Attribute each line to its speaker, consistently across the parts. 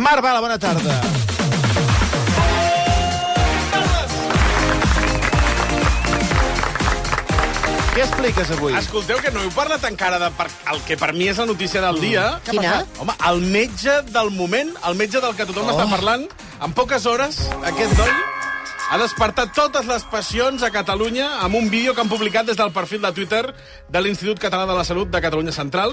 Speaker 1: Marc Bala, bona tarda. Què expliques avui?
Speaker 2: Escolteu que no heu parlat encara de per... el que per mi és la notícia del dia.
Speaker 1: Mm. Què ha
Speaker 3: Quina?
Speaker 1: passat?
Speaker 2: Home, el metge del moment, el metge del que tothom oh.
Speaker 1: Oh.
Speaker 2: està parlant, en poques hores, aquest noi ha despertat totes les passions a Catalunya amb un vídeo que han publicat des del perfil de Twitter de l'Institut Català de la Salut de Catalunya Central.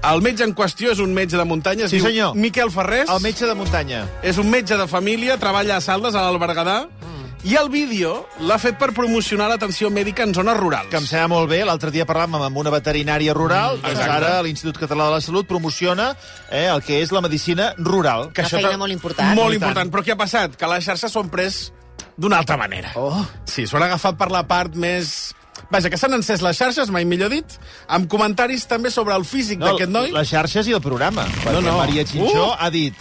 Speaker 2: El metge en qüestió és un metge de muntanya, es
Speaker 1: Sí,
Speaker 2: diu
Speaker 1: senyor.
Speaker 2: Miquel Ferrés.
Speaker 1: El metge de muntanya.
Speaker 2: És un metge de família, treballa a Saldes, a l'Albergadà,
Speaker 1: Mm.
Speaker 2: i el vídeo l'ha fet per promocionar l'atenció mèdica en zones rurals.
Speaker 1: que em sembla molt bé. L'altre dia parlàvem amb una veterinària rural, mm, doncs
Speaker 2: exacte.
Speaker 1: ara l'Institut Català de la Salut promociona eh, el que és la medicina rural.
Speaker 2: que
Speaker 3: Una
Speaker 2: això
Speaker 3: feina
Speaker 2: ta-
Speaker 3: molt important.
Speaker 2: Molt
Speaker 1: I tant.
Speaker 2: important. Però què ha passat? Que les xarxes s'ho han pres d'una altra manera.
Speaker 1: Oh.
Speaker 2: Sí, s'ho han agafat per la part més... Vaja, que s'han encès les xarxes, mai millor dit, amb comentaris també sobre el físic no, d'aquest noi.
Speaker 1: Les xarxes i el programa. Perquè
Speaker 2: no.
Speaker 1: Maria Xinxó
Speaker 2: Uh!
Speaker 1: ha dit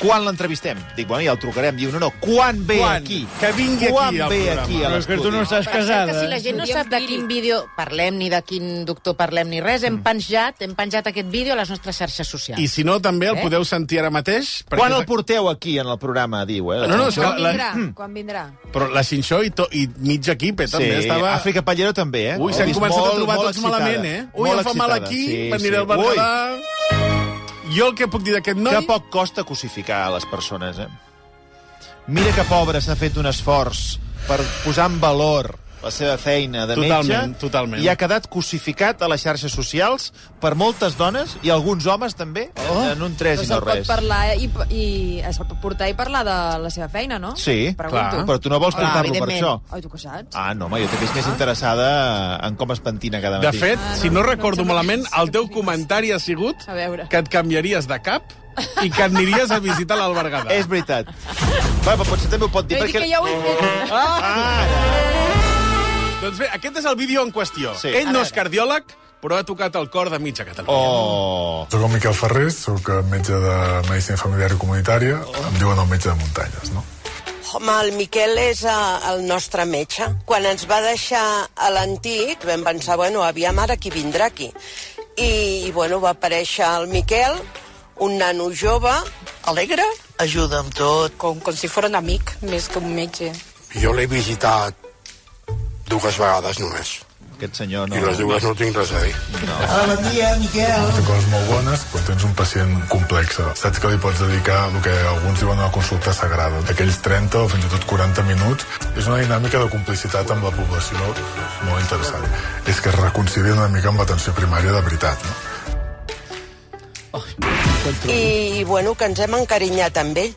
Speaker 1: quan l'entrevistem? Dic, bueno, ja el trucarem. Diu, no, no, quan ve
Speaker 2: Quan?
Speaker 1: aquí?
Speaker 2: Que vingui
Speaker 1: quan
Speaker 2: aquí al
Speaker 1: ve
Speaker 2: programa.
Speaker 1: aquí a
Speaker 4: Però és que tu no
Speaker 1: l'estudi?
Speaker 4: estàs
Speaker 3: Però és
Speaker 4: casada.
Speaker 3: que si
Speaker 1: eh?
Speaker 3: la gent no sap de quin vídeo parlem, ni de quin doctor parlem, ni res,
Speaker 1: Mm.
Speaker 3: hem penjat, hem penjat aquest vídeo a les nostres xarxes socials.
Speaker 2: I si no, també el
Speaker 3: Eh?
Speaker 2: podeu sentir ara mateix. perquè-
Speaker 1: Quan el porteu aquí en el programa, diu, eh? la Mm.
Speaker 2: No, no, és
Speaker 1: Xinxó?
Speaker 2: que
Speaker 5: Quan
Speaker 2: la-
Speaker 5: vindrà? Quan vindrà?
Speaker 2: Però la Xinxó i, to... i mig equip, eh, també
Speaker 1: Sí,
Speaker 2: estava...
Speaker 1: Àfrica Pallero també, eh?
Speaker 2: Ui,
Speaker 1: Ho he
Speaker 2: s'han
Speaker 1: vist
Speaker 2: començat
Speaker 1: molt,
Speaker 2: a trobar
Speaker 1: molt
Speaker 2: tots
Speaker 1: excitada.
Speaker 2: malament, eh? Ui,
Speaker 1: Molt
Speaker 2: em fa mal
Speaker 1: excitada,
Speaker 2: aquí,
Speaker 1: sí,
Speaker 2: m'aniré
Speaker 1: sí.
Speaker 2: al Berguedà... Jo el que puc dir d'aquest
Speaker 1: Ui,
Speaker 2: noi...
Speaker 1: que poc costa cosificar a les persones, eh? Mira que pobre s'ha fet un esforç per posar en valor la seva feina de
Speaker 2: Totalment,
Speaker 1: metge
Speaker 2: totalment.
Speaker 1: i ha quedat cosificat a les xarxes socials per moltes dones i alguns homes també oh. en un tres
Speaker 5: Però
Speaker 1: i no
Speaker 5: se'l pot
Speaker 1: res.
Speaker 5: parlar i, i es pot portar i parlar de la seva feina, no?
Speaker 1: Sí,
Speaker 5: Pregunto.
Speaker 1: però tu no vols
Speaker 3: Clar,
Speaker 1: portar-lo per
Speaker 3: evidentment.
Speaker 1: això.
Speaker 5: Ai, tu que saps?
Speaker 1: Ah, no, home, jo també estic més interessada en com es pentina cada
Speaker 2: De
Speaker 1: matí.
Speaker 2: fet,
Speaker 5: Ah, no,
Speaker 2: si no
Speaker 5: no
Speaker 2: recordo
Speaker 5: ens hem
Speaker 2: malament,
Speaker 5: pensat
Speaker 2: el teu
Speaker 5: que sí.
Speaker 2: comentari ha sigut
Speaker 5: A veure.
Speaker 2: que et canviaries de cap i que aniries a visitar l'Albergada.
Speaker 1: És veritat. Va, però potser també ho pot dir,
Speaker 5: Però
Speaker 1: perquè... Oh.
Speaker 5: que ja ho he fet.
Speaker 1: Ah,
Speaker 2: Doncs bé, aquest és el vídeo en qüestió.
Speaker 1: Sí.
Speaker 2: Ell no és cardiòleg, però ha tocat el cor de mitja Catalunya.
Speaker 1: oh...
Speaker 6: Soc el Miquel Ferrés, sóc el metge de Medicina Familiar i Comunitària. Em diuen el metge de muntanyes, no?
Speaker 7: Home, el Miquel és eh, el nostre metge. Quan ens va deixar a l'antic, vam pensar, bueno, aviam ara qui vindrà aquí. I, I, bueno, va aparèixer el Miquel, un nano jove, alegre,
Speaker 8: Ajuda amb tot.
Speaker 9: com, com si fos un amic més que un metge.
Speaker 10: Jo l'he visitat dues vegades només.
Speaker 1: Aquest senyor Pues no...
Speaker 10: I les dues no tinc res a dir.
Speaker 8: Hola, bon dia, Miquel.
Speaker 6: Té coses molt bones quan tens un pacient complex. Saps que li pots dedicar el que alguns diuen una consulta sagrada. Aquells 30 o fins i tot 40 minuts és una dinàmica de complicitat amb la població molt interessant. És que es reconcilia una mica amb l'atenció primària de veritat, no?
Speaker 7: i, i, bueno, que ens hem encarinyat amb ell.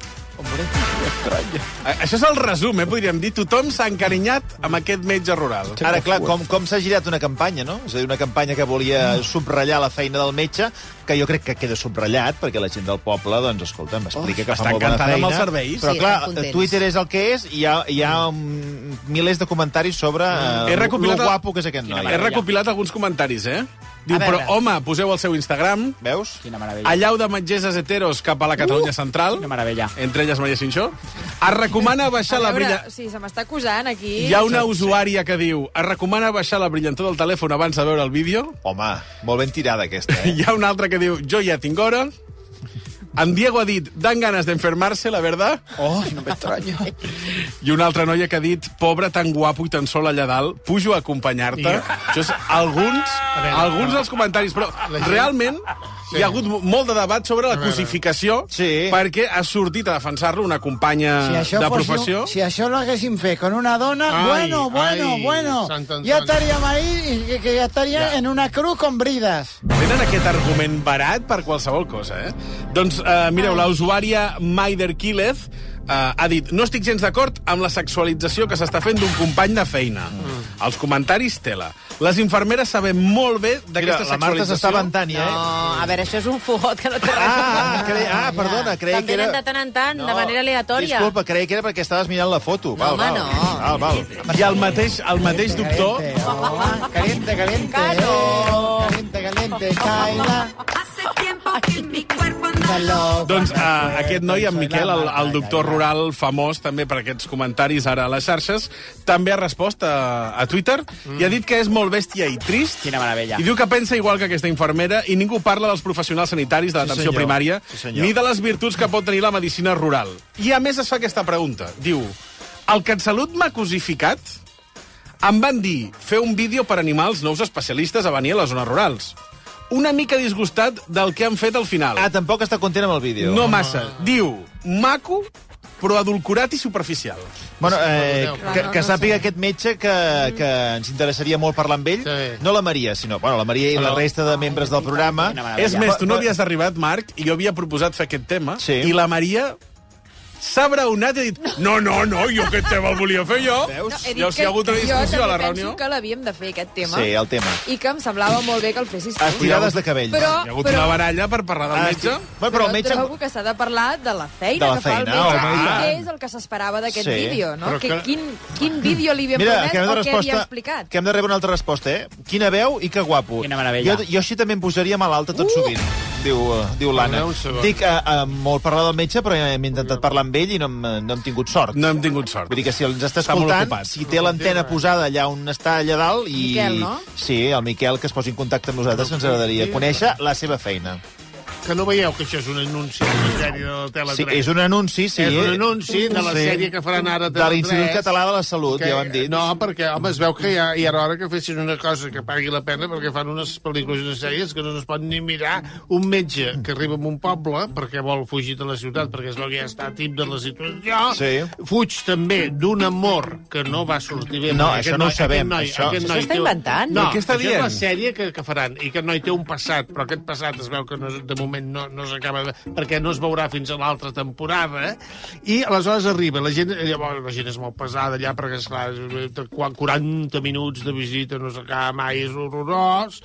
Speaker 2: A- Això és el resum, eh, podríem dir. Tothom s'ha encarinyat amb aquest metge rural.
Speaker 1: Ara, clar, com, com s'ha girat una campanya, no? És a dir, una campanya que volia subratllar la feina del metge, que jo crec que queda subratllat, perquè la gent del poble, doncs, escolta, m'explica
Speaker 2: Oh,
Speaker 1: que
Speaker 2: està
Speaker 1: fa molt bona
Speaker 2: encantada
Speaker 1: feina.
Speaker 2: amb els serveis.
Speaker 1: Però,
Speaker 3: Sí, estan
Speaker 1: clar,
Speaker 3: contents.
Speaker 1: Twitter és el que és, i hi ha, hi ha mm, milers de comentaris sobre
Speaker 2: He
Speaker 1: eh,
Speaker 2: recopilat
Speaker 1: lo
Speaker 2: el-
Speaker 1: guapo que és aquest noi.
Speaker 2: He recopilat alguns comentaris, eh? Diu,
Speaker 4: A veure.
Speaker 2: però home, poseu el seu Instagram,
Speaker 1: Veus?
Speaker 4: Quina meravella.
Speaker 2: allà de metgesses heteros cap a la Catalunya Central,
Speaker 4: Quina meravella.
Speaker 2: entre elles Maria Xinxó, es recomana baixar
Speaker 5: A
Speaker 2: la
Speaker 5: veure,
Speaker 2: brilla...
Speaker 5: o sigui, se m'està acusant aquí.
Speaker 2: Hi ha una usuària que diu es recomana baixar la brillantor del telèfon abans de veure el vídeo.
Speaker 1: Home, molt ben tirada, aquesta, eh?
Speaker 2: Hi ha una altra que diu jo ja tinc hora. En Diego ha dit dan ganas de enfermarse, la verdad.
Speaker 4: Oh, no m'estranya.
Speaker 2: I una altra noia que ha dit pobre, tan guapo i tan sol allà dalt, pujo a acompanyar-te. Això és alguns, alguns dels comentaris. Però realment hi ha hagut mo- molt de debat sobre la cosificació
Speaker 1: Sí.
Speaker 2: perquè ha sortit a defensar-lo una companya
Speaker 4: Si això,
Speaker 2: de
Speaker 4: fos,
Speaker 2: professió.
Speaker 4: si això lo haguéssim fet con una dona,
Speaker 10: Ai,
Speaker 4: bueno, bueno,
Speaker 10: ai,
Speaker 4: bueno,
Speaker 10: Sant Antoni.
Speaker 4: ja estaríem ahí, que, que ja estaria en una cruz con bridas.
Speaker 2: Tenen aquest argument barat per qualsevol cosa, eh? Doncs, eh, mireu, la usuària Maider Quílez eh, ha dit no estic gens d'acord amb la sexualització que s'està fent d'un company de feina.
Speaker 1: Mm.
Speaker 2: Els comentaris, tela. Les infermeres sabem molt bé
Speaker 1: Mira,
Speaker 2: d'aquesta
Speaker 1: la Marta
Speaker 2: sexualització.
Speaker 1: s'està vantant, ja,
Speaker 3: No,
Speaker 1: eh?
Speaker 3: a veure, això és un fogot que no té res a veure.
Speaker 1: Ah, cre... ah, perdona, creia
Speaker 3: També
Speaker 1: que era...
Speaker 3: eren de tant en tant, de manera aleatòria.
Speaker 1: Disculpa, creia que era perquè estaves mirant la foto.
Speaker 3: No, home, no.
Speaker 1: Val, val.
Speaker 2: I el mateix, el mateix doctor...
Speaker 1: eh,
Speaker 4: Caliente, oh, caliente, caliente, eh, caliente, caliente, Kaila.
Speaker 9: Hace tiempo que mi cuerpo anda
Speaker 1: eh.
Speaker 2: Doncs uh, aquest noi, en Miquel, el, el doctor rural famós també per aquests comentaris ara a les xarxes, també ha respost a, a Twitter
Speaker 1: Mm.
Speaker 2: i ha dit que és molt bèstia i trist.
Speaker 11: Quina meravella.
Speaker 2: I diu que pensa igual que aquesta infermera i ningú parla dels professionals sanitaris de l'atenció
Speaker 1: senyor.
Speaker 2: primària
Speaker 1: Sí, senyor.
Speaker 2: ni de les virtuts que pot tenir la medicina rural. I a més es fa aquesta pregunta. Diu, el CatSalut m'ha cosificat? Em van dir fer un vídeo per animar els nous especialistes a venir a les zones rurals. Una mica disgustat del que han fet al final.
Speaker 1: Ah, tampoc està content amb el vídeo.
Speaker 2: No massa. Diu, maco, però adulcorat i superficial.
Speaker 1: Bueno, eh, que, que sàpiga aquest metge que, que ens interessaria molt parlar amb ell. No la Maria, sinó bueno, la Maria i la resta de membres del programa.
Speaker 2: És més, tu no
Speaker 1: Ah, Però-
Speaker 2: havies arribat, Marc, i jo havia proposat fer aquest tema,
Speaker 1: Sí.
Speaker 2: i la Maria s'ha braonat i ha dit no, no, no, jo aquest tema el volia fer jo.
Speaker 5: No, he dit
Speaker 2: Llavors hi
Speaker 5: que
Speaker 2: ha hagut una discussió
Speaker 5: jo
Speaker 2: a la
Speaker 5: també
Speaker 2: reunió.
Speaker 5: penso que l'havíem de fer, aquest tema.
Speaker 1: Sí, el tema.
Speaker 5: I que em semblava molt bé que el fessis tu.
Speaker 1: Estirades de cabell.
Speaker 5: Però,
Speaker 2: Hi ha hagut
Speaker 5: però,
Speaker 2: una baralla per parlar del
Speaker 1: Ah,
Speaker 2: metge.
Speaker 1: sí. Bueno, però el metge...
Speaker 5: trobo que s'ha de parlar de la feina
Speaker 1: De la
Speaker 5: que fa el
Speaker 1: feina,
Speaker 5: metge.
Speaker 1: home, i
Speaker 5: Ah,
Speaker 1: tant.
Speaker 5: què és el que s'esperava d'aquest
Speaker 1: Sí,
Speaker 5: vídeo, no?
Speaker 1: però
Speaker 5: Que,
Speaker 1: que-
Speaker 5: quin, quin vídeo li havien promès
Speaker 1: hem de
Speaker 5: o què havia
Speaker 1: resposta-
Speaker 5: explicat?
Speaker 1: que hem de rebre una altra resposta, eh? Quina veu i que guapo.
Speaker 11: Quina meravella.
Speaker 1: Jo, jo així també em posaria malalta tot uh! sovint, diu, uh, diu l'Anna. Dic, uh, uh, molt parlar del metge, però eh, hem intentat parlar amb ell i no hem, eh, no hem tingut sort.
Speaker 2: No hem tingut sort.
Speaker 1: Vull dir que si ens està
Speaker 2: Està molt
Speaker 1: escoltant,
Speaker 2: ocupat.
Speaker 1: si té l'antena posada allà on està allà dalt... I...
Speaker 5: Miquel, no?
Speaker 1: Sí, el Miquel, que es posi en contacte amb nosaltres, que ens agradaria conèixer la seva feina.
Speaker 12: Que no veieu que això és un anunci de la sèrie de la Tele3?
Speaker 1: Sí, és un anunci, sí. eh.
Speaker 12: És un anunci de la
Speaker 1: Sí.
Speaker 12: sèrie que faran ara a
Speaker 1: De l'Institut
Speaker 12: TV3,
Speaker 1: Català de la Salut,
Speaker 12: que-
Speaker 1: ja ho hem dit.
Speaker 12: No, perquè, home, es veu que ja, ja era hora que fessin una cosa que pagui la pena, perquè fan unes pel·lícules i unes sèries que no es pot ni mirar. Un metge que arriba a un poble perquè vol fugir de la ciutat, perquè es veu que ja està tip de la situació,
Speaker 1: Sí.
Speaker 12: fuig també d'un amor que no va sortir bé.
Speaker 1: No,
Speaker 12: perquè
Speaker 1: això no ho
Speaker 12: Aquest
Speaker 1: sabem,
Speaker 12: noi,
Speaker 1: això.
Speaker 12: aquest noi
Speaker 1: Això està
Speaker 12: té un-
Speaker 1: inventant?
Speaker 12: No,
Speaker 1: Però què està
Speaker 12: això és la
Speaker 1: dient?
Speaker 12: sèrie que, que faran i que el noi té un passat, però aquest passat es veu que no, de moment no, no s'acaba de- perquè no es veurà fins a l'altra temporada i aleshores arriba la gent eh, llavors la gent és molt pesada allà perquè esclar, és- eh, quan 40 minuts de visita no s'acaba mai, és horrorós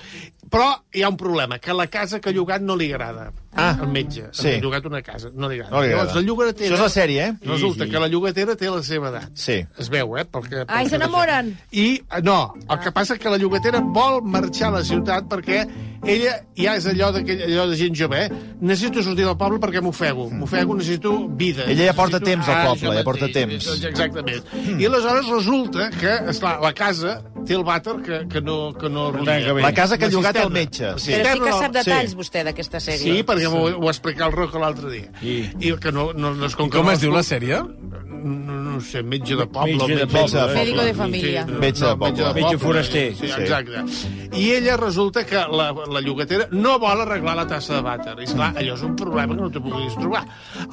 Speaker 12: però hi ha un problema, que la casa que ha llogat no li agrada ah, al metge.
Speaker 1: sí.
Speaker 12: Ha llogat una casa, no li agrada.
Speaker 1: No li agrada.
Speaker 12: Llavors, la llogatera...
Speaker 1: Això és la sèrie, eh?
Speaker 12: Resulta
Speaker 1: Sí, sí.
Speaker 12: que la llogatera té la seva edat.
Speaker 1: Sí.
Speaker 12: Es veu, eh? Perquè,
Speaker 5: Ai, s'enamoren.
Speaker 12: i eh, no, el que passa és que la llogatera vol marxar a la ciutat perquè ella ja és allò, d'aquell- allò de gent jove, eh? Necessito sortir del poble perquè m'ofego. M'ofego, necessito vida.
Speaker 1: Mm. Ella ja porta
Speaker 12: necessito-
Speaker 1: temps al
Speaker 12: Ah,
Speaker 1: poble,
Speaker 12: això
Speaker 1: ja porta
Speaker 12: mateix,
Speaker 1: temps. Mm.
Speaker 12: Exactament. I aleshores resulta que, esclar, la casa té el vàter que, que no... Que no rodia.
Speaker 1: La casa que
Speaker 12: La
Speaker 1: ha llogat el
Speaker 12: cisterna.
Speaker 1: metge.
Speaker 12: La
Speaker 1: Sí.
Speaker 3: Però sí que
Speaker 12: cisterna-
Speaker 3: sap detalls, vostè, d'aquesta sèrie.
Speaker 12: Sí, perquè m'ho ho va explicar el Rocco l'altre dia. I, I que no, no, no es com que
Speaker 2: Com
Speaker 12: no
Speaker 2: es diu la sèrie?
Speaker 12: No, no sé, metge de poble.
Speaker 2: Metge de eh?
Speaker 1: poble.
Speaker 3: Médico de familia.
Speaker 1: Metge de poble.
Speaker 11: Metge foraster.
Speaker 12: Sí,
Speaker 1: Sí.
Speaker 12: exacte. I ella resulta que la, la llogatera no vol arreglar la tassa de vàter. I, esclar, allò és un problema que no t'ho puguis trobar.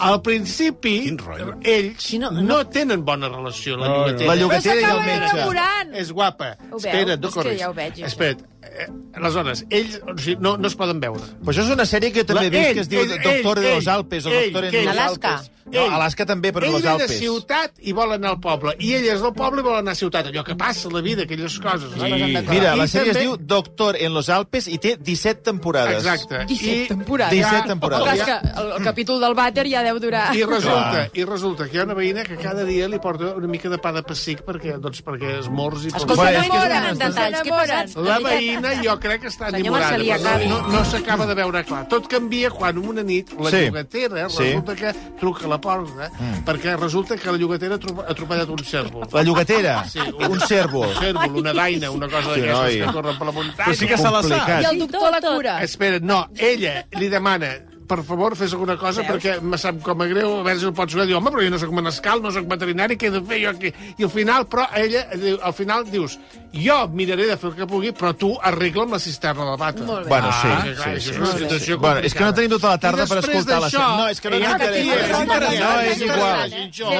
Speaker 12: Al principi, ells no, tenen bona relació, la llogatera.
Speaker 1: La llogatera i el
Speaker 5: s'acaben
Speaker 1: metge.
Speaker 5: enamorant.
Speaker 12: És guapa.
Speaker 5: Ho veus?
Speaker 12: Espera, no
Speaker 5: És que
Speaker 12: corris.
Speaker 5: ja ho veig, jo.
Speaker 12: Espera't. Eh, Aleshores, ells o sigui, no, no es poden veure.
Speaker 1: Però això és una sèrie que jo també he
Speaker 12: La-
Speaker 1: vist,
Speaker 12: ell,
Speaker 1: que es diu
Speaker 12: ell,
Speaker 1: Doctor
Speaker 12: ell,
Speaker 1: de
Speaker 12: ell,
Speaker 1: los Alpes o
Speaker 12: ell,
Speaker 1: Doctor en
Speaker 12: ell.
Speaker 1: los
Speaker 3: Alaska.
Speaker 1: Alpes. No, Alaska també, però
Speaker 12: ell
Speaker 1: en los
Speaker 12: ve
Speaker 1: Alpes.
Speaker 12: de ciutat i vol anar al poble. I ella és del poble i vol anar a ciutat. Allò que passa a la vida, aquelles coses. no?
Speaker 3: Sí.
Speaker 1: Mira,
Speaker 12: I
Speaker 1: la sèrie es
Speaker 12: també-
Speaker 1: diu Doctor en los Alpes i té 17 temporades.
Speaker 12: Exacte.
Speaker 5: 17 temporades.
Speaker 1: 17
Speaker 5: Però
Speaker 1: temporades.
Speaker 5: clar, és que el, el capítol del vàter ja deu durar...
Speaker 12: I resulta, I resulta que hi ha una veïna que cada dia li porta una mica de pa de pessic perquè, doncs, perquè es morts i...
Speaker 3: Escolta,
Speaker 1: Bueno,
Speaker 3: no
Speaker 1: és que és
Speaker 3: entren
Speaker 1: una-
Speaker 3: en detalls. Què ha passat?
Speaker 12: La veïna jo crec que està
Speaker 3: Senyor
Speaker 12: enamorada.
Speaker 3: Marcelí, acabi.
Speaker 12: No, no s'acaba de veure clar. Tot canvia quan una nit la
Speaker 1: Sí.
Speaker 12: llogatera
Speaker 1: Sí.
Speaker 12: resulta que truca a la porta perquè resulta que la llogatera ha atro- ha atropellat un cèrvol.
Speaker 1: La llogatera,
Speaker 12: Sí, un-
Speaker 1: un cèrvol.
Speaker 12: Un cèrvol, una daina, una cosa
Speaker 1: Sí,
Speaker 12: d'aquestes
Speaker 1: noi.
Speaker 12: que corren per la muntanya.
Speaker 2: Però sí que se la sap.
Speaker 5: I
Speaker 1: Complicat.
Speaker 5: el doctor la cura.
Speaker 12: Espera, no, ella li demana per favor, fes alguna cosa, Veus? perquè me sap com a greu, a veure si el pots jugar. Diu, home, però jo no sóc menescal, no sóc veterinari, què he de fer jo aquí? I al final, però ella, diu- al final dius, jo miraré de fer el que pugui, però tu arregla'm la cisterna del vàter.
Speaker 5: Molt bé.
Speaker 1: Bueno, sí,
Speaker 12: Ah,
Speaker 1: sí,
Speaker 12: clar,
Speaker 1: sí,
Speaker 12: això és
Speaker 1: sí,
Speaker 12: una
Speaker 1: sí,
Speaker 12: situació
Speaker 1: sí. Bueno, és que no tenim tota la tarda
Speaker 12: I
Speaker 1: per
Speaker 12: després
Speaker 1: escoltar la
Speaker 12: d'això,
Speaker 1: sèrie. No, és que no
Speaker 12: ella
Speaker 1: ens interessa.
Speaker 12: que té-
Speaker 1: No és igual.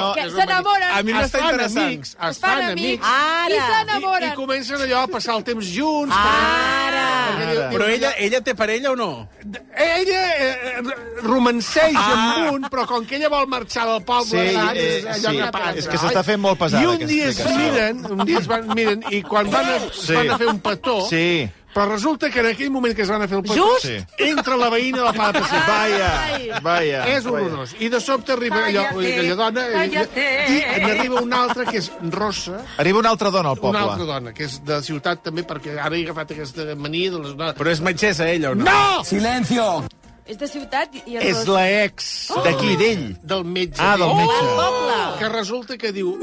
Speaker 12: No,
Speaker 5: Que
Speaker 12: és
Speaker 5: s'enamoren.
Speaker 2: A mi
Speaker 12: Es
Speaker 2: m'està
Speaker 12: fan
Speaker 2: interessant.
Speaker 12: amics, es fan amics.
Speaker 5: Ara. I
Speaker 12: I, I
Speaker 5: s'enamoren. Ah,
Speaker 12: comencen allò a passar el temps junts. Ara!
Speaker 2: Però ella, ella té parella o no?
Speaker 12: Ella eh, eh, romanceja ah. amb un, però com que ella vol marxar del poble,
Speaker 1: Sí,
Speaker 12: clar,
Speaker 1: eh,
Speaker 12: és allò
Speaker 1: sí.
Speaker 12: que passa.
Speaker 1: És que s'està fent molt pesada,
Speaker 12: I un
Speaker 1: aquesta
Speaker 12: dia es
Speaker 1: explicació.
Speaker 12: miren, un dia es van, miren, i quan van a,
Speaker 1: Sí.
Speaker 12: sí. van a fer un petó,
Speaker 1: Sí.
Speaker 12: però resulta que en aquell moment que es van a fer el petó,
Speaker 1: Just? Sí.
Speaker 12: entra la veïna i la para passar.
Speaker 1: Vaya, vaya.
Speaker 12: És horrorós. I de sobte arriba allò, aquella dona, i, i n'arriba una altra que és rossa,
Speaker 1: Arriba una altra dona al
Speaker 12: una altra
Speaker 1: poble.
Speaker 12: dona, que és de ciutat també, perquè ara he agafat aquesta mania de les dones.
Speaker 2: Però és metgessa, ella, o no?
Speaker 12: No!
Speaker 11: Silencio!
Speaker 5: És de ciutat i...
Speaker 12: És la ex.
Speaker 5: Oh!
Speaker 1: D'aquí, d'ell.
Speaker 12: Del metge.
Speaker 1: Ah, del metge.
Speaker 12: Oh! Que resulta que diu...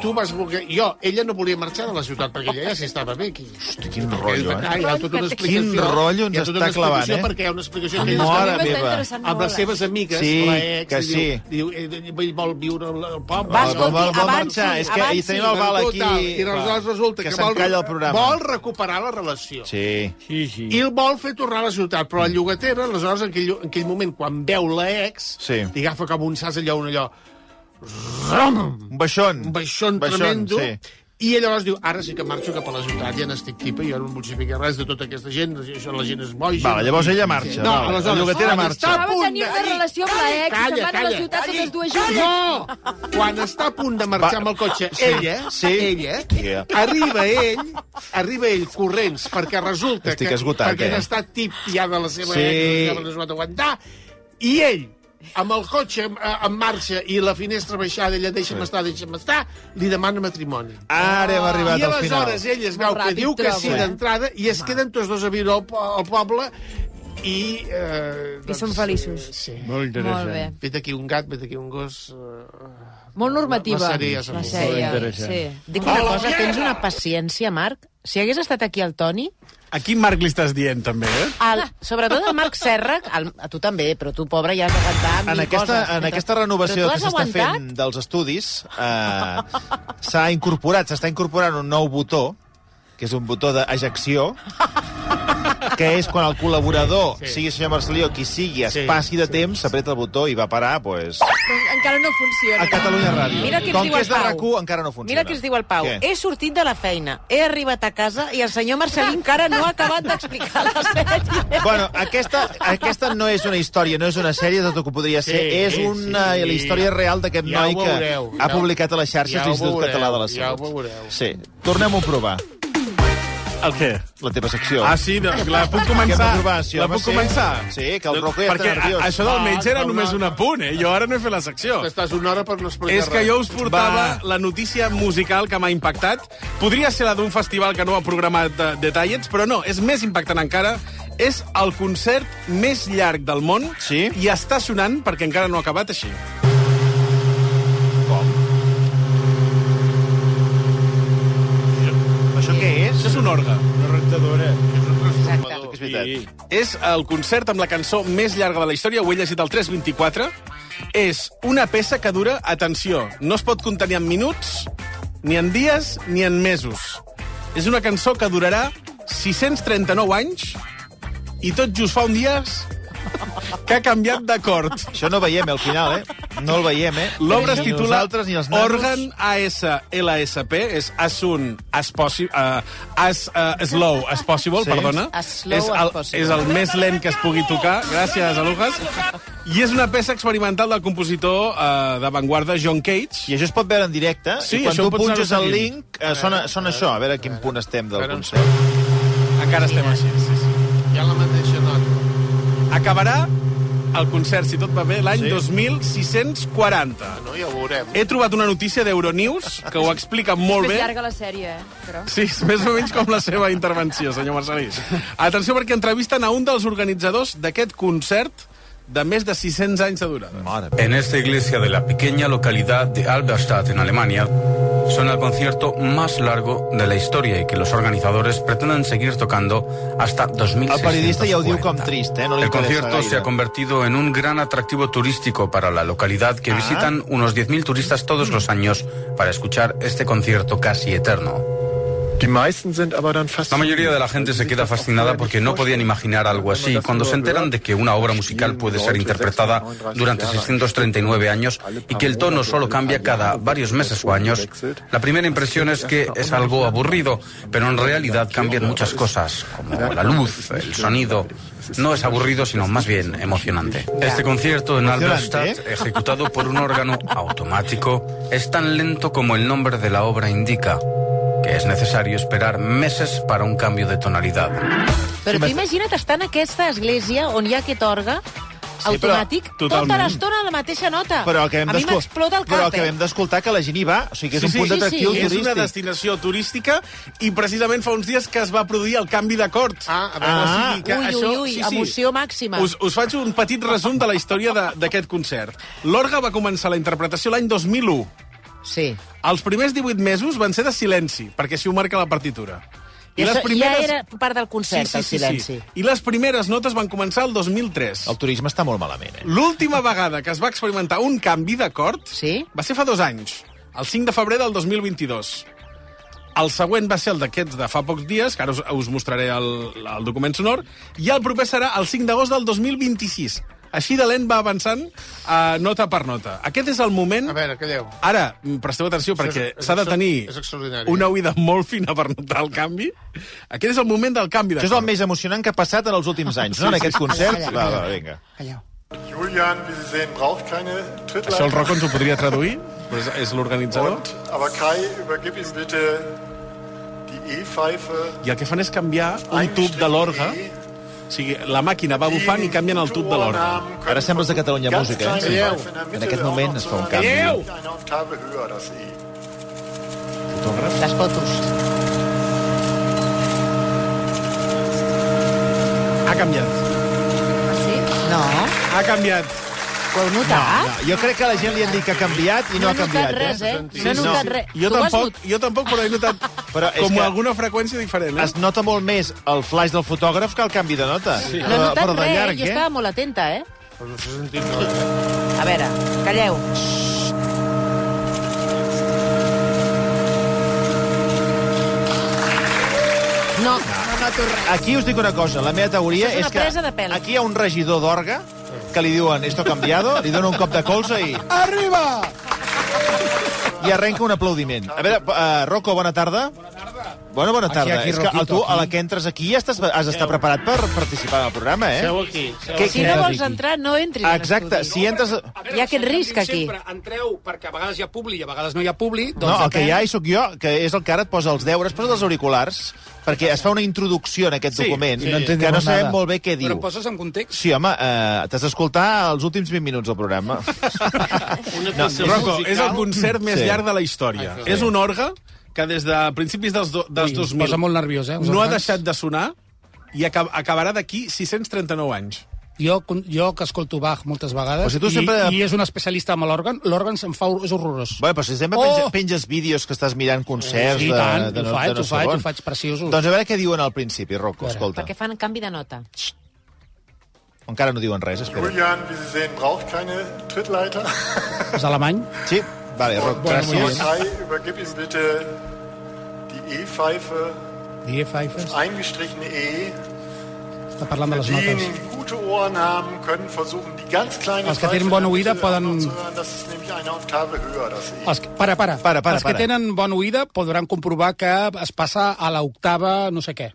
Speaker 12: Tu vas voler... Jo, ella no volia marxar de la ciutat perquè ella ja s'hi estava bé aquí.
Speaker 1: Hosti, quin rotllo,
Speaker 12: Ah, hi ha
Speaker 1: eh?
Speaker 12: tota una explicació.
Speaker 1: Quin rotllo
Speaker 12: Hi
Speaker 1: ens
Speaker 12: ha tota
Speaker 1: està
Speaker 12: una
Speaker 1: clavant,
Speaker 12: explicació
Speaker 1: eh?
Speaker 12: Perquè hi ha una explicació que
Speaker 1: Mare
Speaker 12: ella està-
Speaker 1: meva.
Speaker 12: Amb les seves amigues,
Speaker 1: Sí,
Speaker 12: la ex,
Speaker 1: que
Speaker 12: i
Speaker 1: sí.
Speaker 12: diu, eh, diu, ell vol viure al al poble.
Speaker 1: Va, escolti, Vol- vol avanci, marxar. És que
Speaker 12: avanci.
Speaker 1: hi tenim el Val aquí,
Speaker 12: Total, I
Speaker 1: clar,
Speaker 12: aleshores resulta
Speaker 1: que
Speaker 12: que, vol,
Speaker 1: s'encalla el programa.
Speaker 12: vol recuperar la relació.
Speaker 1: Sí. Mm.
Speaker 12: Sí, sí. I el vol fer tornar a la ciutat, però la llogatera, aleshores, en aquell, en aquell moment, quan veu l'ex,
Speaker 1: Sí.
Speaker 12: li agafa com un sas allò, un allò... Ram!
Speaker 1: Un baixón.
Speaker 12: Un baixón,
Speaker 1: Baixón,
Speaker 12: tremendo.
Speaker 1: sí.
Speaker 12: I ell llavors diu, ara sí que marxo cap a la ciutat, ja n'estic tipa, jo no em vull saber res de tota aquesta gent, això la gent és boja.
Speaker 1: Vale, llavors ella marxa,
Speaker 12: No,
Speaker 1: vale.
Speaker 12: aleshores... ah,
Speaker 1: La llogatera
Speaker 12: quan
Speaker 1: marxa.
Speaker 12: està a
Speaker 5: Acaba
Speaker 12: punt
Speaker 5: tenir una
Speaker 12: de-
Speaker 5: relació amb la ex,
Speaker 12: Calla,
Speaker 5: se'n van a la
Speaker 12: calla.
Speaker 5: ciutat
Speaker 12: Calla.
Speaker 5: totes dues
Speaker 12: No!
Speaker 5: juntes.
Speaker 12: Quan està a punt de marxar
Speaker 1: Va.
Speaker 12: amb el cotxe,
Speaker 1: Sí.
Speaker 12: ella,
Speaker 1: Sí.
Speaker 12: ella,
Speaker 1: Hòstia.
Speaker 12: arriba ell, arriba ell corrents, perquè resulta
Speaker 1: Estic
Speaker 12: que...
Speaker 1: esgotat,
Speaker 12: perquè
Speaker 1: eh?
Speaker 12: n'està tip ja de la seva
Speaker 1: Sí.
Speaker 12: ex, no es pot aguantar, i ell, amb el cotxe en, en marxa i la finestra baixada, ella deixa'm estar, deixa'm estar, li demana matrimoni.
Speaker 1: Ara hem
Speaker 12: Ah, I
Speaker 1: arribat al final.
Speaker 12: aleshores eh. ell es veu
Speaker 5: Molt
Speaker 12: que
Speaker 5: ràpid,
Speaker 12: diu que sí
Speaker 5: trobo, eh?
Speaker 12: d'entrada i es queden tots dos a viure al, po- al poble i... Eh,
Speaker 5: I són feliços.
Speaker 12: eh, Sí.
Speaker 2: Molt
Speaker 5: Molt bé.
Speaker 12: Vet aquí un gat, vet aquí un gos... Eh,
Speaker 5: Molt normativa.
Speaker 12: La sèrie ja s'ha
Speaker 5: La
Speaker 12: vist.
Speaker 5: sèrie,
Speaker 12: Molt
Speaker 2: interessant.
Speaker 5: sí.
Speaker 3: Dic una
Speaker 12: Hola,
Speaker 3: cosa,
Speaker 12: yeah!
Speaker 3: tens una paciència, Marc? Si hagués estat aquí el Toni,
Speaker 2: A quin Marc li estàs dient, també, eh?
Speaker 3: el,
Speaker 5: Ah.
Speaker 3: sobretot el Marc Serra, el, a tu també, però tu, pobre, ja has d'aguantar mil
Speaker 1: En aquesta,
Speaker 3: coses.
Speaker 1: en aquesta renovació
Speaker 3: Però tu
Speaker 1: que
Speaker 3: has
Speaker 1: s'està
Speaker 3: aguantat?
Speaker 1: fent dels estudis, eh, s'ha incorporat, s'està incorporant un nou botó, que és un botó d'ejecció, que és quan el col·laborador, sí, sí. sigui el senyor Marcelí o qui sigui, es
Speaker 12: Sí,
Speaker 1: sí, passi de sí, temps, s'apreta el botó i va parar, pues,
Speaker 5: Però encara no funciona.
Speaker 1: a Catalunya Ràdio.
Speaker 3: Mira què ens
Speaker 1: Com
Speaker 3: diu
Speaker 1: que
Speaker 3: el
Speaker 1: és de
Speaker 3: Pau.
Speaker 1: RAC1, encara no funciona.
Speaker 3: Mira què ens diu el Pau.
Speaker 1: Què?
Speaker 3: He sortit de la feina, he arribat a casa i el senyor Marcelí encara no ha acabat d'explicar la sèrie.
Speaker 1: Bueno, aquesta, aquesta no és una història, no és una sèrie de tot el que podria ser.
Speaker 12: Sí,
Speaker 1: és
Speaker 12: sí,
Speaker 1: una
Speaker 12: sí.
Speaker 1: la història real d'aquest
Speaker 12: Ja ho
Speaker 1: noi que
Speaker 12: veureu,
Speaker 1: ha
Speaker 12: ja ho-
Speaker 1: publicat a les xarxes
Speaker 12: ja ho
Speaker 1: l'Institut
Speaker 12: veureu,
Speaker 1: Català de la
Speaker 12: ja ho
Speaker 1: Salut.
Speaker 12: veureu.
Speaker 1: Sí, tornem-ho a provar,
Speaker 2: El què?
Speaker 1: la teva secció.
Speaker 2: Ah, sí, de- la puc
Speaker 1: Què
Speaker 2: començar?
Speaker 1: va provar, sí,
Speaker 2: la
Speaker 1: home,
Speaker 2: puc
Speaker 1: sí.
Speaker 2: començar?
Speaker 1: Sí, que el Rocco ja està
Speaker 2: Perquè
Speaker 1: nerviós.
Speaker 2: a- això del
Speaker 12: Ah,
Speaker 2: metge era
Speaker 12: no,
Speaker 2: només
Speaker 12: no.
Speaker 2: un apunt, eh? Jo ara no he fet la secció.
Speaker 12: T'estàs una hora per no explicar
Speaker 2: És que jo us portava
Speaker 1: Va.
Speaker 2: la notícia musical que m'ha impactat. Podria ser la d'un festival que no ha programat de, detallets, però no, és més impactant encara. És el concert més llarg del món
Speaker 1: Sí?
Speaker 2: i està sonant, perquè encara no ha acabat així.
Speaker 1: Això què és?
Speaker 2: Això és un orgue.
Speaker 12: Una rectadora. És un transformador.
Speaker 1: És veritat.
Speaker 2: És el concert amb la cançó més llarga de la història, ho he llegit al 324. És una peça que dura, atenció, no es pot contenir en minuts, ni en dies, ni en mesos. És una cançó que durarà 639 anys i tot just fa un dies que ha canviat d'acord.
Speaker 1: Això no veiem, al final, eh? No el veiem, eh?
Speaker 2: L'obra es
Speaker 1: Ni
Speaker 2: titula
Speaker 1: nosaltres ni els nanos.
Speaker 2: Organ ASLSP, és As Soon As Possible, uh, As uh, Slow As Possible,
Speaker 1: Sí.
Speaker 2: perdona.
Speaker 3: As slow
Speaker 2: és,
Speaker 3: as
Speaker 2: el,
Speaker 3: possible.
Speaker 2: és el més lent que es pugui tocar. Gràcies, Alujas. I és una peça experimental del compositor uh, d'avantguarda John
Speaker 1: I
Speaker 2: Cage.
Speaker 1: això es pot veure en directe,
Speaker 2: Sí,
Speaker 1: i quan
Speaker 2: això ho
Speaker 1: tu
Speaker 2: pots anar
Speaker 1: punges el
Speaker 2: seguint.
Speaker 1: link, eh, sona, sona això, a veure a quin punt estem del
Speaker 12: Ara ens-
Speaker 1: concert.
Speaker 2: Encara estem així, sí, sí.
Speaker 12: Hi ha la mateixa nota.
Speaker 2: Acabarà el concert, si tot va bé, l'any
Speaker 1: Sí.
Speaker 2: 2640.
Speaker 12: No, ja ho veurem.
Speaker 2: He trobat una notícia d'Euronews que ho explica molt
Speaker 5: És
Speaker 2: bé.
Speaker 5: més llarga la sèrie, eh? Però...
Speaker 2: Sí, és més o menys com la seva intervenció, senyor Marcelí. Atenció, perquè entrevisten a un dels organitzadors d'aquest concert de més de 600 anys de durada.
Speaker 1: Mare
Speaker 11: En esta iglesia de la pequeña localidad de Alberstadt, en Alemania, suena el concierto más largo de la historia y que los organizadores pretenden seguir tocando hasta 2060.
Speaker 1: El periodista ja ho diu com trist, eh? No li
Speaker 11: el
Speaker 1: interessa
Speaker 11: concierto
Speaker 1: gaire.
Speaker 11: se ha convertido en un gran atractivo turístico para la localidad que
Speaker 1: Ah.
Speaker 11: visitan unos 10.000 turistas todos los años para escuchar este concierto casi eterno. La mayoría de la gente se queda fascinada porque no podían imaginar algo así. Cuando se enteran de que una obra musical puede ser interpretada durante 639 años y que el tono solo cambia cada varios meses o años, la primera impresión es que es algo aburrido, pero en realidad cambian muchas cosas, como la luz, el sonido. No es aburrido, sino más bien emocionante. Este concierto en
Speaker 1: Emocionante,
Speaker 11: Alberstadt, ejecutado por un órgano automático, es tan lento como el nombre de la obra indica que es necesario esperar meses para un cambio de tonalidad.
Speaker 3: Però tu imagina't estar en aquesta església on hi ha aquest orgue automàtic,
Speaker 1: totalment.
Speaker 3: tota l'estona la mateixa nota.
Speaker 1: Però el que vam
Speaker 3: a mi
Speaker 1: d'escol-
Speaker 3: m'explota el cap,
Speaker 1: Però el que
Speaker 3: eh?
Speaker 1: vam d'escoltar que la gent hi va, o sigui que és un punt d'atractiu
Speaker 2: És una
Speaker 1: turístic.
Speaker 2: destinació turística i precisament fa uns dies que es va produir el canvi d'acord. Ah,
Speaker 3: a veure, o sigui que Ui, ui, ui, emoció màxima.
Speaker 2: Us, us faig un petit resum de la història de- d'aquest concert. L'orga va començar la interpretació l'any 2001.
Speaker 3: Sí.
Speaker 2: Els primers 18 mesos van ser de silenci, perquè així ho marca la partitura.
Speaker 3: I això ja era part del concert, el silenci.
Speaker 2: I les primeres notes van començar el 2003.
Speaker 1: El turisme està molt malament, eh?
Speaker 2: L'última vegada que es va experimentar un canvi d'acord sí? va ser fa dos anys, el 5 de febrer del 2022. El següent va ser el d'aquests de fa pocs dies, que ara us, us mostraré el, el document sonor, i el proper serà el 5 d'agost del 2026. Així de lent va avançant eh, nota per nota. Aquest és el moment... A
Speaker 12: veure, calleu.
Speaker 2: Ara, mm, presteu atenció, perquè
Speaker 12: és-
Speaker 2: s'ha de
Speaker 12: és-
Speaker 2: tenir
Speaker 12: és extraordinari.
Speaker 2: una oïda molt fina per notar el canvi. Aquest és el moment del canvi
Speaker 1: Això és
Speaker 2: d'acord.
Speaker 1: el més emocionant que ha passat en els últims anys, no? En aquest concert. Va, va, vinga.
Speaker 6: Julian, wie Sie sehen, braucht keine
Speaker 2: Això el Rocco ens ho
Speaker 6: Trittleiter.
Speaker 2: podria traduir, però és, és l'organitzador.
Speaker 6: Aber Kai, übergib ihm bitte die E-Pfeife. E.
Speaker 2: I el que fan és canviar un tub de l'orga. O sigui, la màquina va bufant i canvien el tub de l'orga.
Speaker 1: Ara sembles de Catalunya Música, eh?
Speaker 2: Calleu!
Speaker 1: En aquest moment es fa un canvi.
Speaker 2: Calleu!
Speaker 6: Eine Oktave höher, das E.
Speaker 3: Les fotos.
Speaker 2: Ha canviat.
Speaker 3: Sí? No.
Speaker 2: Ha canviat.
Speaker 3: Ho heu notat?
Speaker 1: Jo crec que la gent li han dit que ha canviat i no,
Speaker 3: Ah. No he
Speaker 1: ha canviat.
Speaker 3: notat res, eh? No he
Speaker 1: Sí,
Speaker 3: notat res.
Speaker 1: Jo
Speaker 3: Tu ho has
Speaker 1: tampoc,
Speaker 3: notat?
Speaker 2: jo tampoc, però he notat
Speaker 1: però
Speaker 2: com
Speaker 1: alguna
Speaker 2: freqüència diferent.
Speaker 1: Eh? Es nota molt més el flash del fotògraf que el canvi de nota. Sí.
Speaker 3: No he notat res, jo
Speaker 1: eh?
Speaker 3: estava molt atenta, eh?
Speaker 12: Però no s'ha sentit res.
Speaker 3: A veure, calleu. No, no noto res.
Speaker 1: Aquí us dic una cosa, la meva teoria
Speaker 3: Això és
Speaker 1: és,
Speaker 3: una presa de
Speaker 1: que
Speaker 3: pèl.
Speaker 1: aquí hi ha un regidor d'orga que li diuen esto cambiado, li dona un cop de colze i,
Speaker 4: Arriba!
Speaker 1: i arrenca un aplaudiment. A veure, uh, Rocco, bona tarda. Bona tarda. Bona, bona tarda.
Speaker 12: aquí,
Speaker 1: és que a tu,
Speaker 12: Roquito,
Speaker 1: a la que entres aquí, ja estàs, has d'estar preparat per participar en el programa, eh?
Speaker 12: Seu aquí. Seu
Speaker 1: Què-
Speaker 3: Si
Speaker 1: què
Speaker 3: no
Speaker 1: has
Speaker 3: vols
Speaker 1: dit?
Speaker 3: entrar, no entris. a
Speaker 1: Exacte,
Speaker 3: l'estudi.
Speaker 1: si entres...
Speaker 3: Hi ha aquest risc aquí.
Speaker 13: Sempre entreu, perquè a vegades hi ha publi i a vegades no hi ha publi. Doncs
Speaker 1: No, el que
Speaker 13: depèn.
Speaker 1: hi ha hi sóc jo, que és el que ara et posa els deures, posa els auriculars, perquè es fa una introducció en aquest
Speaker 13: Sí,
Speaker 1: document,
Speaker 13: sí. No
Speaker 1: que
Speaker 13: entendemos
Speaker 1: no sabem
Speaker 13: nada.
Speaker 1: molt bé què diu.
Speaker 13: Però em poses en context?
Speaker 1: Sí, home, eh, t'has d'escoltar els últims 20 minuts del programa.
Speaker 2: No, Rocco, és el concert més
Speaker 1: Sí.
Speaker 2: sí. llarg de la història.
Speaker 1: Ai,
Speaker 2: Sí. És un orga que des de principis dels, do, dels
Speaker 13: Ui,
Speaker 2: 2000
Speaker 13: em posa molt nerviós, eh, els
Speaker 2: no ha
Speaker 13: òrgans.
Speaker 2: deixat de sonar i acab acabarà d'aquí 639 anys.
Speaker 13: Jo, jo que escolto Bach moltes vegades
Speaker 1: O sigui, tu sempre-
Speaker 13: i, i és un especialista amb l'òrgan, l'òrgan se'm fa... és horrorós.
Speaker 1: Bé, però si sempre
Speaker 13: Oh!
Speaker 1: penges, penges vídeos que estàs mirant concerts
Speaker 13: Sí, i
Speaker 1: de,
Speaker 13: tant,
Speaker 1: de,
Speaker 13: ho
Speaker 1: no,
Speaker 13: faig,
Speaker 1: de no
Speaker 13: ho
Speaker 1: sé
Speaker 13: faig,
Speaker 1: on.
Speaker 13: ho faig preciosos.
Speaker 1: Doncs a veure què diuen al principi, Rocco, escolta.
Speaker 3: Perquè fan canvi de nota.
Speaker 1: Encara no diuen res, espera.
Speaker 6: Julian, wie Sie sehen, braucht keine Trittleiter.
Speaker 13: És alemany?
Speaker 1: Sí, vale, Rocco,
Speaker 13: Bueno, muy
Speaker 1: gràcies.
Speaker 6: Kai, übergib ihm bitte die E-Pfeife.
Speaker 13: Die E-Pfeife?
Speaker 6: Das eingestrichene E.
Speaker 13: Està parlant de les notes.
Speaker 6: Diejenigen, die gute Ohren haben, können versuchen, die ganz kleine
Speaker 13: Els que tenen bona oïda poden...
Speaker 6: zu hören. Das ist nämlich eine Oktave höher, das E.
Speaker 13: Els que, para, para.
Speaker 6: Para, para,
Speaker 13: Els que
Speaker 6: para.
Speaker 13: tenen bona oïda podran comprovar que es passa a l'octava no sé què.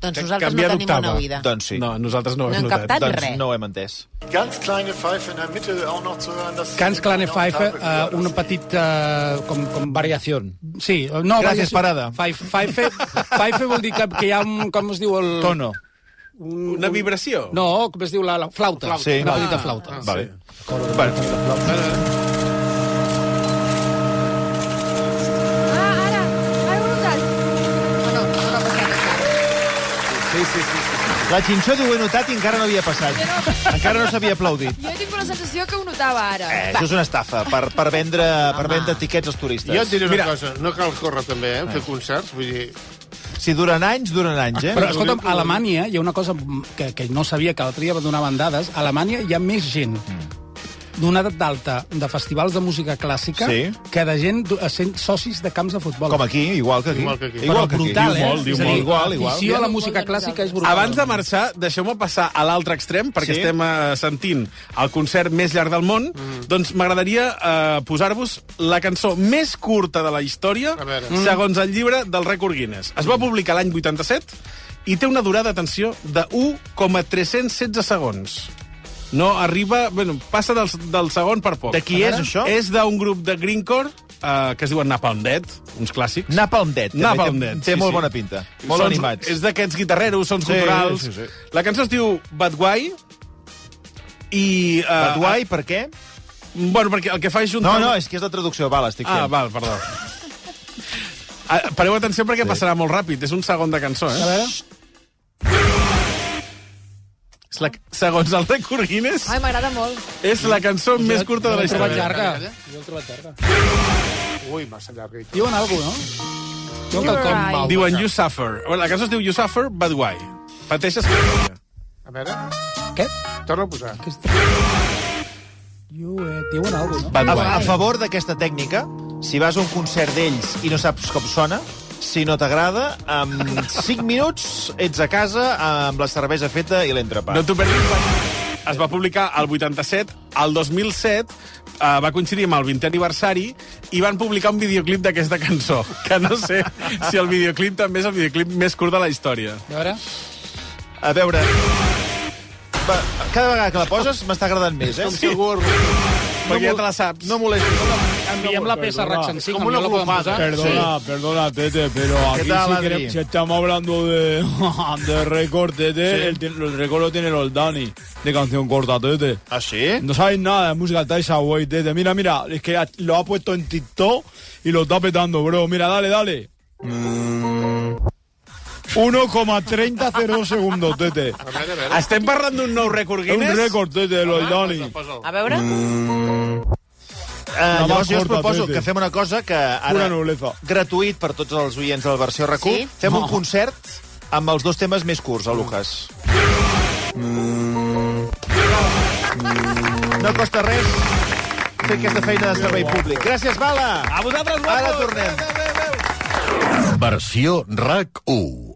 Speaker 3: Doncs
Speaker 2: Canviar d'octava.
Speaker 1: Doncs sí.
Speaker 2: No, nosaltres no ho
Speaker 13: No
Speaker 2: hem
Speaker 13: hem
Speaker 2: notat.
Speaker 13: captat
Speaker 2: doncs
Speaker 13: res.
Speaker 1: no ho hem entès.
Speaker 6: Die ganz kleine Pfeife in der Mitte auch noch zu hören. Das ist
Speaker 13: Cans
Speaker 6: nämlich
Speaker 13: Clane
Speaker 6: eine
Speaker 13: Pfeife,
Speaker 6: Oktave höher,
Speaker 13: uh, una petita... Uh, com, com variació. Sí, no,
Speaker 1: Gràcies, parada.
Speaker 13: Pfeife, pfeife, pfeife vol dir que, que hi ha un... Mm, Com es diu el...
Speaker 1: Tono.
Speaker 2: Una vibració?
Speaker 13: No, com es diu la, la flauta.
Speaker 1: Sí.
Speaker 13: Una
Speaker 1: Ah,
Speaker 13: petita flauta.
Speaker 1: Vale. Bueno.
Speaker 5: Ah,
Speaker 2: Sí, sí, sí.
Speaker 1: La Xinxó diu, ho he notat i encara no havia passat. Encara no s'havia aplaudit.
Speaker 5: Jo tinc la sensació que ho notava ara.
Speaker 1: Eh, això és una estafa per, per, vendre, per vendre tiquets als turistes.
Speaker 12: Jo et diré una
Speaker 1: Mira,
Speaker 12: Mira. cosa, no cal córrer també, eh, fer concerts, vull dir...
Speaker 1: Si duren anys, duren anys, eh?
Speaker 13: Però, escolta'm, a Alemanya hi ha una cosa que, que no sabia que l'altre dia va donar bandades. A Alemanya hi ha més gent donada d'alta de festivals de música clàssica
Speaker 1: Sí.
Speaker 13: que de gent do- sent socis de camps de futbol.
Speaker 1: Com aquí, igual que aquí.
Speaker 13: Igual que aquí.
Speaker 1: Igual que
Speaker 13: Però
Speaker 1: aquí.
Speaker 13: brutal, eh? És a dir,
Speaker 1: Igual, igual.
Speaker 13: afició a la música clàssica és brutal.
Speaker 2: Abans de marxar, deixeu-me passar a l'altre extrem, perquè
Speaker 13: Sí?
Speaker 2: sí? estem eh, sentint el concert més llarg del món. Mm. Doncs m'agradaria eh, posar-vos la cançó més curta de la història, Mm.
Speaker 12: veure.
Speaker 2: segons el llibre del rècord Guinness. Es
Speaker 1: Mm.
Speaker 2: va publicar l'any 87 i té una durada, atenció, de 1,316 segons. No arriba... Bueno, passa del, del segon per poc.
Speaker 1: De qui és, això?
Speaker 2: És d'un grup de greencore eh, que es diuen Napalm Dead, uns clàssics.
Speaker 1: Napalm Dead. també
Speaker 2: Napalm
Speaker 1: té-
Speaker 2: Dead,
Speaker 1: Té molt bona pinta.
Speaker 13: Doncs
Speaker 1: Molt
Speaker 2: Sons-
Speaker 1: animats.
Speaker 2: És d'aquests guitarreros, sons
Speaker 1: Sí,
Speaker 2: culturals.
Speaker 1: sí, sí.
Speaker 2: La cançó es diu Bad Guy I, uh,
Speaker 1: Baduai, per què?
Speaker 2: Bueno, perquè el que fa és
Speaker 1: No,
Speaker 2: juntar...
Speaker 1: no, és que és la traducció. Val, estic
Speaker 2: Ah,
Speaker 1: fent.
Speaker 2: val, perdó. Ah, Pareu atenció perquè sí. passarà molt ràpid. És un segon de cançó, eh?
Speaker 13: A veure...
Speaker 2: És la... Segons el rècord Guinness,
Speaker 5: Ai, m'agrada molt.
Speaker 2: és la cançó més curta de la
Speaker 13: Jo l'he
Speaker 2: història.
Speaker 13: trobat llarga. Jo l'he trobat llarga.
Speaker 12: Ui, massa llarga.
Speaker 13: Diuen alguna cosa, no? Diuen quelcom.
Speaker 12: Right. Mal,
Speaker 2: Diuen
Speaker 12: vaja.
Speaker 2: You Suffer. Bueno, La cançó es diu You Suffer, but why? Pateixes que...
Speaker 12: A veure,
Speaker 13: Què?
Speaker 12: torna a posar.
Speaker 13: Jo, eh, diuen alguna cosa,
Speaker 1: A,
Speaker 13: no?
Speaker 1: a favor d'aquesta tècnica, si vas a un concert d'ells i no saps com sona, si no t'agrada, en 5 minuts ets a casa amb la cervesa feta i l'entrepà.
Speaker 2: No t'ho perdis. va- Es va publicar al 87, al 2007, eh, va coincidir amb el 20è aniversari i van publicar un videoclip d'aquesta cançó, que no sé si el videoclip també és el videoclip més curt de la història.
Speaker 13: A veure...
Speaker 1: A veure... Va, cada vegada que la poses m'està agradant més, eh? Sí.
Speaker 12: Segur.
Speaker 2: Perquè ja te la saps.
Speaker 1: No molestis.
Speaker 13: Enviem la peça a Raxan 5,
Speaker 12: Com una
Speaker 13: potser la podem
Speaker 12: glopada.
Speaker 13: posar.
Speaker 14: Perdona, perdona, Tete, pero
Speaker 1: ¿Qué
Speaker 14: aquí
Speaker 1: tal,
Speaker 14: si,
Speaker 1: Adri?
Speaker 14: queremos- si estamos hablando de, de récord, Tete, el, ti- el récord lo tiene los Dani, de canción corta, Tete.
Speaker 1: ¿Ah, sí?
Speaker 14: No sabéis nada de música Taisa Way, Tete. Mira, mira, es que lo ha puesto en TikTok y lo está petando, bro. Mira, dale, dale. 1,3002 segundos, Tete.
Speaker 2: Estem parlant d'un nou rècord
Speaker 14: Es un
Speaker 2: Guinness?
Speaker 14: récord, Tete, de los Dani.
Speaker 7: A veure...
Speaker 1: Eh, llavors jo us
Speaker 14: corta,
Speaker 1: proposo
Speaker 14: Tete.
Speaker 1: que fem una cosa que ara...
Speaker 14: Una nobleza.
Speaker 1: Gratuït per tots els oients de la versió rac
Speaker 3: Sí?
Speaker 1: Fem un concert amb els dos temes més curts, a Lucas. No costa res fer aquesta feina de servei públic. Gràcies, Bala! A vosaltres, Ara tornem.
Speaker 15: Versió RAC 1.